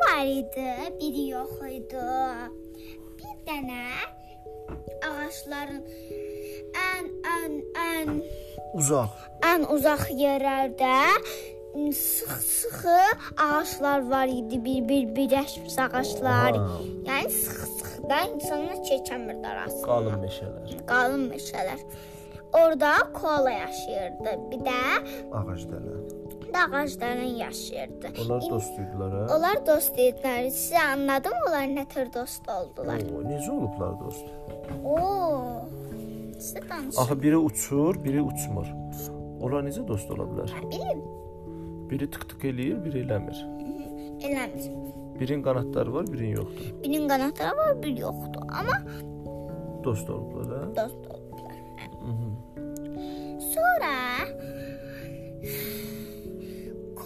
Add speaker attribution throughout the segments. Speaker 1: var idi, biri yox idi. Bir dənə ağacların ən ən ən
Speaker 2: Uzaq.
Speaker 1: ən uzaq yerlərdə m, sıx-sıxı ağaclar var idi, bir-bir birləşmiş ağaclar.
Speaker 2: Aha.
Speaker 1: Yəni sıx-sıxdan insanlar keçəmirdi arasında.
Speaker 2: Qalın meşələr.
Speaker 1: Qalın meşələr. Orda koala yaşayırdı. Bir də
Speaker 2: Ağacdələr.
Speaker 1: də ağacların yaşayırdı.
Speaker 2: Onlar
Speaker 1: İndi-
Speaker 2: dost idilər, hə?
Speaker 1: Onlar dost idilər. Sizə anladım onlar nə tər dost oldular.
Speaker 2: Oo, necə olublar dost?
Speaker 1: Oo. Sizə danış.
Speaker 2: Axı biri uçur, biri uçmur. Onlar necə dost ola bilər?
Speaker 1: Bilim,
Speaker 2: Biri tık-tık eləyir, biri eləmir.
Speaker 1: eləmir.
Speaker 2: Birin qanadları var, birin yoxdur.
Speaker 1: Birinin qanadları var, bir yoxdur. Amma
Speaker 2: Dost olublar, hə?
Speaker 1: dost oldular. Sonra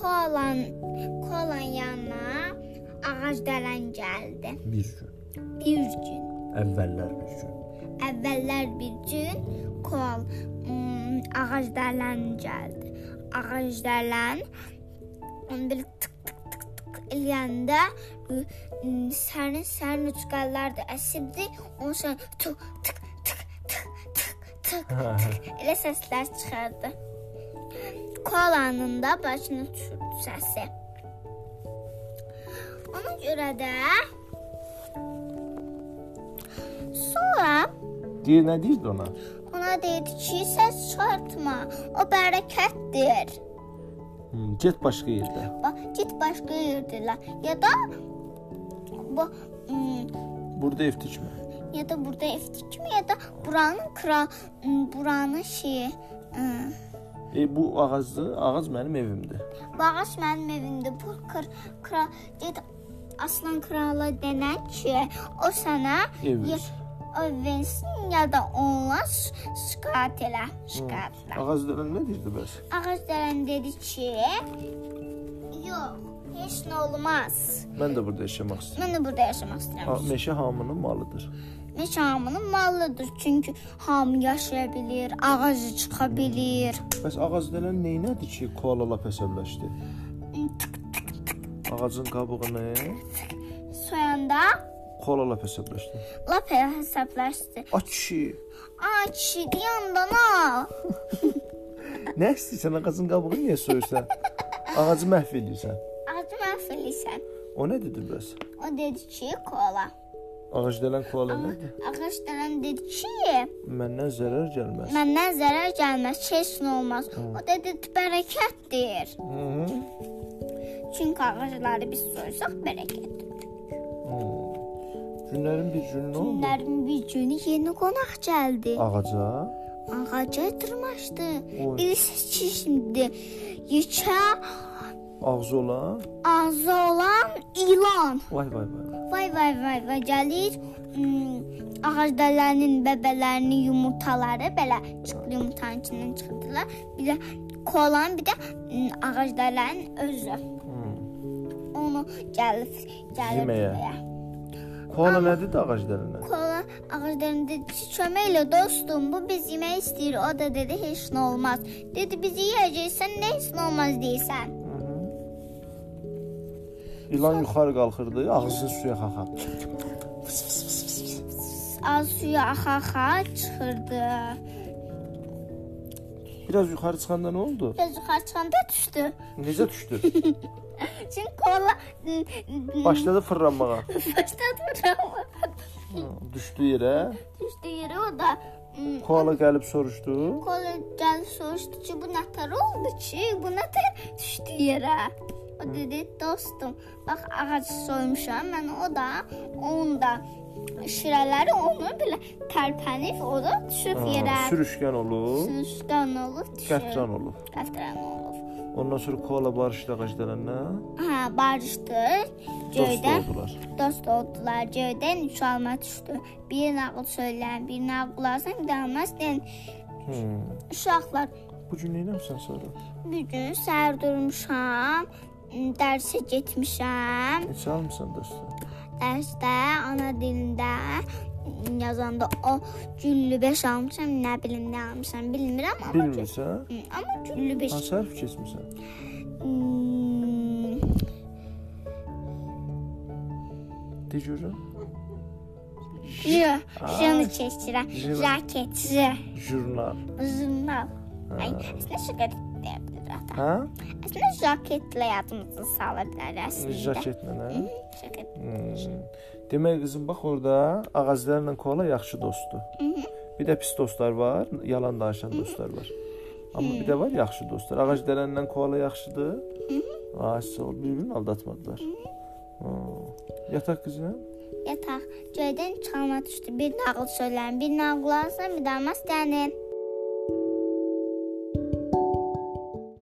Speaker 1: koalan koalan yanına ağac dələn gəldi.
Speaker 2: Bir gün.
Speaker 1: Bir gün
Speaker 2: Əvvəllər bir gün.
Speaker 1: Əvvəllər bir gün kol mm, ağac dələn gəldi. Ağac dələn onun belə tık tık tık tık eləyəndə mm, sərin sərin uçqallar da əsirdi. Onun sən tık tık tık tık tık tık
Speaker 2: Hə,
Speaker 1: elə səslər çıxardı. Kolanın da başını uçurdu səsi. Ona görə də sonra
Speaker 2: Deyir, nə deyirdi ona?
Speaker 1: Ona dedi ki, səs çıxartma. O bərəkətdir.
Speaker 2: Hmm, get başqa yerdə.
Speaker 1: Bax, get başqa yerdələr. Ya da bu m,
Speaker 2: Burada ev tikmə.
Speaker 1: ya da burada ev tikmə ya da hmm, buranın kral m, buranın şeyi m,
Speaker 2: E bu ağacdır, ağac mənim evimdir.
Speaker 1: Bağış mənim evimdir. Bu kır, kral get Aslan krala denən ki, o sənə
Speaker 2: Ev
Speaker 1: ye-
Speaker 2: versin.
Speaker 1: ev versin ya da onunla ş- şikayət elə, şikayətlə.
Speaker 2: Ağac deyilən nə deyirdi bəs?
Speaker 1: Ağac dələn dedi ki, yox, heç nə olmaz.
Speaker 2: Mən də burada yaşamaq istəyirəm.
Speaker 1: Mən də burada yaşamaq
Speaker 2: Ha,
Speaker 1: istəyirəm.
Speaker 2: meşə hamının malıdır.
Speaker 1: Meşamının mallıdır, çünki hamı yaşaya bilir, ağacı çıxa bilir.
Speaker 2: Bəs ağac deyilən neynədi ki, koala lap əsəbləşdi? Ağacın qabığını
Speaker 1: Soyanda
Speaker 2: koala lap əsəbləşdi.
Speaker 1: lap elə hesablaşdı.
Speaker 2: A kişi,
Speaker 1: Ay kişi, yandan al.
Speaker 2: nə istəyirsən ağacın qabığını niyə soyursan? Ağacı məhv edirsən.
Speaker 1: Ağacı məhv eləyirsən.
Speaker 2: O nə dedi bəs?
Speaker 1: O dedi ki, kola.
Speaker 2: Ağac deyilən koala nədir?
Speaker 1: Ağac dələn dedi ki,
Speaker 2: Məndən zərər gəlməz.
Speaker 1: məndən zərər gəlməz, heç nə olmaz. O dedi, bərəkətdir.
Speaker 2: Hı -hı.
Speaker 1: Çünki ağacları biz soysaq bərəkət.
Speaker 2: Günlərin bir günü nə oldu?
Speaker 1: Günlərin bir günü yeni qonaq gəldi.
Speaker 2: Ağaca
Speaker 1: Ağaca dırmaşdı.
Speaker 2: Oy.
Speaker 1: İlisi çişimdi. Yekə
Speaker 2: ağzı olan.
Speaker 1: ağzı olan ilan.
Speaker 2: Vay vay vay.
Speaker 1: Vay vay vay vay gəlir. Hmm, ağac dəllərinin bəbələrini, yumurtaları belə çıxdı yumurtanın içindən çıxdılar. Bir də kolan, bir də hmm, ağac dəllərinin özü. Onu gəlib gəlib
Speaker 2: Yeməyə.
Speaker 1: yeməyə.
Speaker 2: Koala nə dedi ağac dəlinə?
Speaker 1: kola ağacdan dedi ki, çöməklə dostum, bu biz yemək istəyir. O da dedi, heç nə olmaz. Dedi, biz yeyəcəyik, sən nə heç nə olmaz deyirsən.
Speaker 2: İlan yuxarı qalxırdı, ağzını suya xaxa.
Speaker 1: Az suya axa-axa çıxırdı.
Speaker 2: Biraz yuxarı çıxanda nə oldu?
Speaker 1: Göz yuxarı çıxanda düşdü.
Speaker 2: Necə düşdü?
Speaker 1: Çünki kola
Speaker 2: Başladı fırlanmağa.
Speaker 1: başladı vuramı.
Speaker 2: Düşdü yerə.
Speaker 1: Düşdü yerə o da. m,
Speaker 2: Koala gəlib soruşdu.
Speaker 1: Kola gəlib soruşdu ki, bu nə tər oldu ki, bu nə tər düşdü yerə. O dedi, dostum, bax ağac soymuşam, mən o da, onun da şirələri onu belə tərpənib o da düşüb yerə.
Speaker 2: Ha, Sürüşkən olub,
Speaker 1: Sürüşdən olub düşür.
Speaker 2: qətran olub.
Speaker 1: Qətran olub.
Speaker 2: Ondan sonra koala barışdı ağac dəlinə.
Speaker 1: Hə, barışdı.
Speaker 2: Dost
Speaker 1: Göydə
Speaker 2: oldular.
Speaker 1: dost oldular. Göydən üç alma düşdü. Bir nağıl söyləyən, bir nağıl qulaqsan, bir də almaz deyən
Speaker 2: Hmm.
Speaker 1: uşaqlar
Speaker 2: Bu gün nə edirsən sonra?
Speaker 1: Bir gün səhər durmuşam, m, dərsə getmişəm.
Speaker 2: Heç almısan dostum.
Speaker 1: Dərsdə ana dilində m, yazanda o güllü 5 almışam, nə bilim nə almışam, bilmirəm amma
Speaker 2: Bilmirsən?
Speaker 1: m, amma güllü 5.
Speaker 2: Hansı
Speaker 1: Hmm.
Speaker 2: hərf keçmisən? Dejura.
Speaker 1: Jı.
Speaker 2: Aa.
Speaker 1: Jını çeşitlen.
Speaker 2: Jı.
Speaker 1: Jaket. Jı.
Speaker 2: Jurnal.
Speaker 1: Zurnal. Ay, aslında şu garip diyebilir hatta.
Speaker 2: Ha?
Speaker 1: Aslında jaketle yardımcı sağlayabilir aslında.
Speaker 2: Jaketlə nə?
Speaker 1: Hı, Jaket.
Speaker 2: Hmm. Demək qızım bax orada ağaclarla koala yaxşı dostdur. Bir də pis dostlar var, yalan danışan dostlar var. Amma bir də var yaxşı dostlar. Ağac dərəndən koala yaxşıdır. Ağaçsa bir-birini aldatmadılar. Ha. Yataq qızına.
Speaker 1: Yatak. Göyden çalma düştü. Bir nağıl söyleyin. Bir nağıl alsan bir daha mas denin.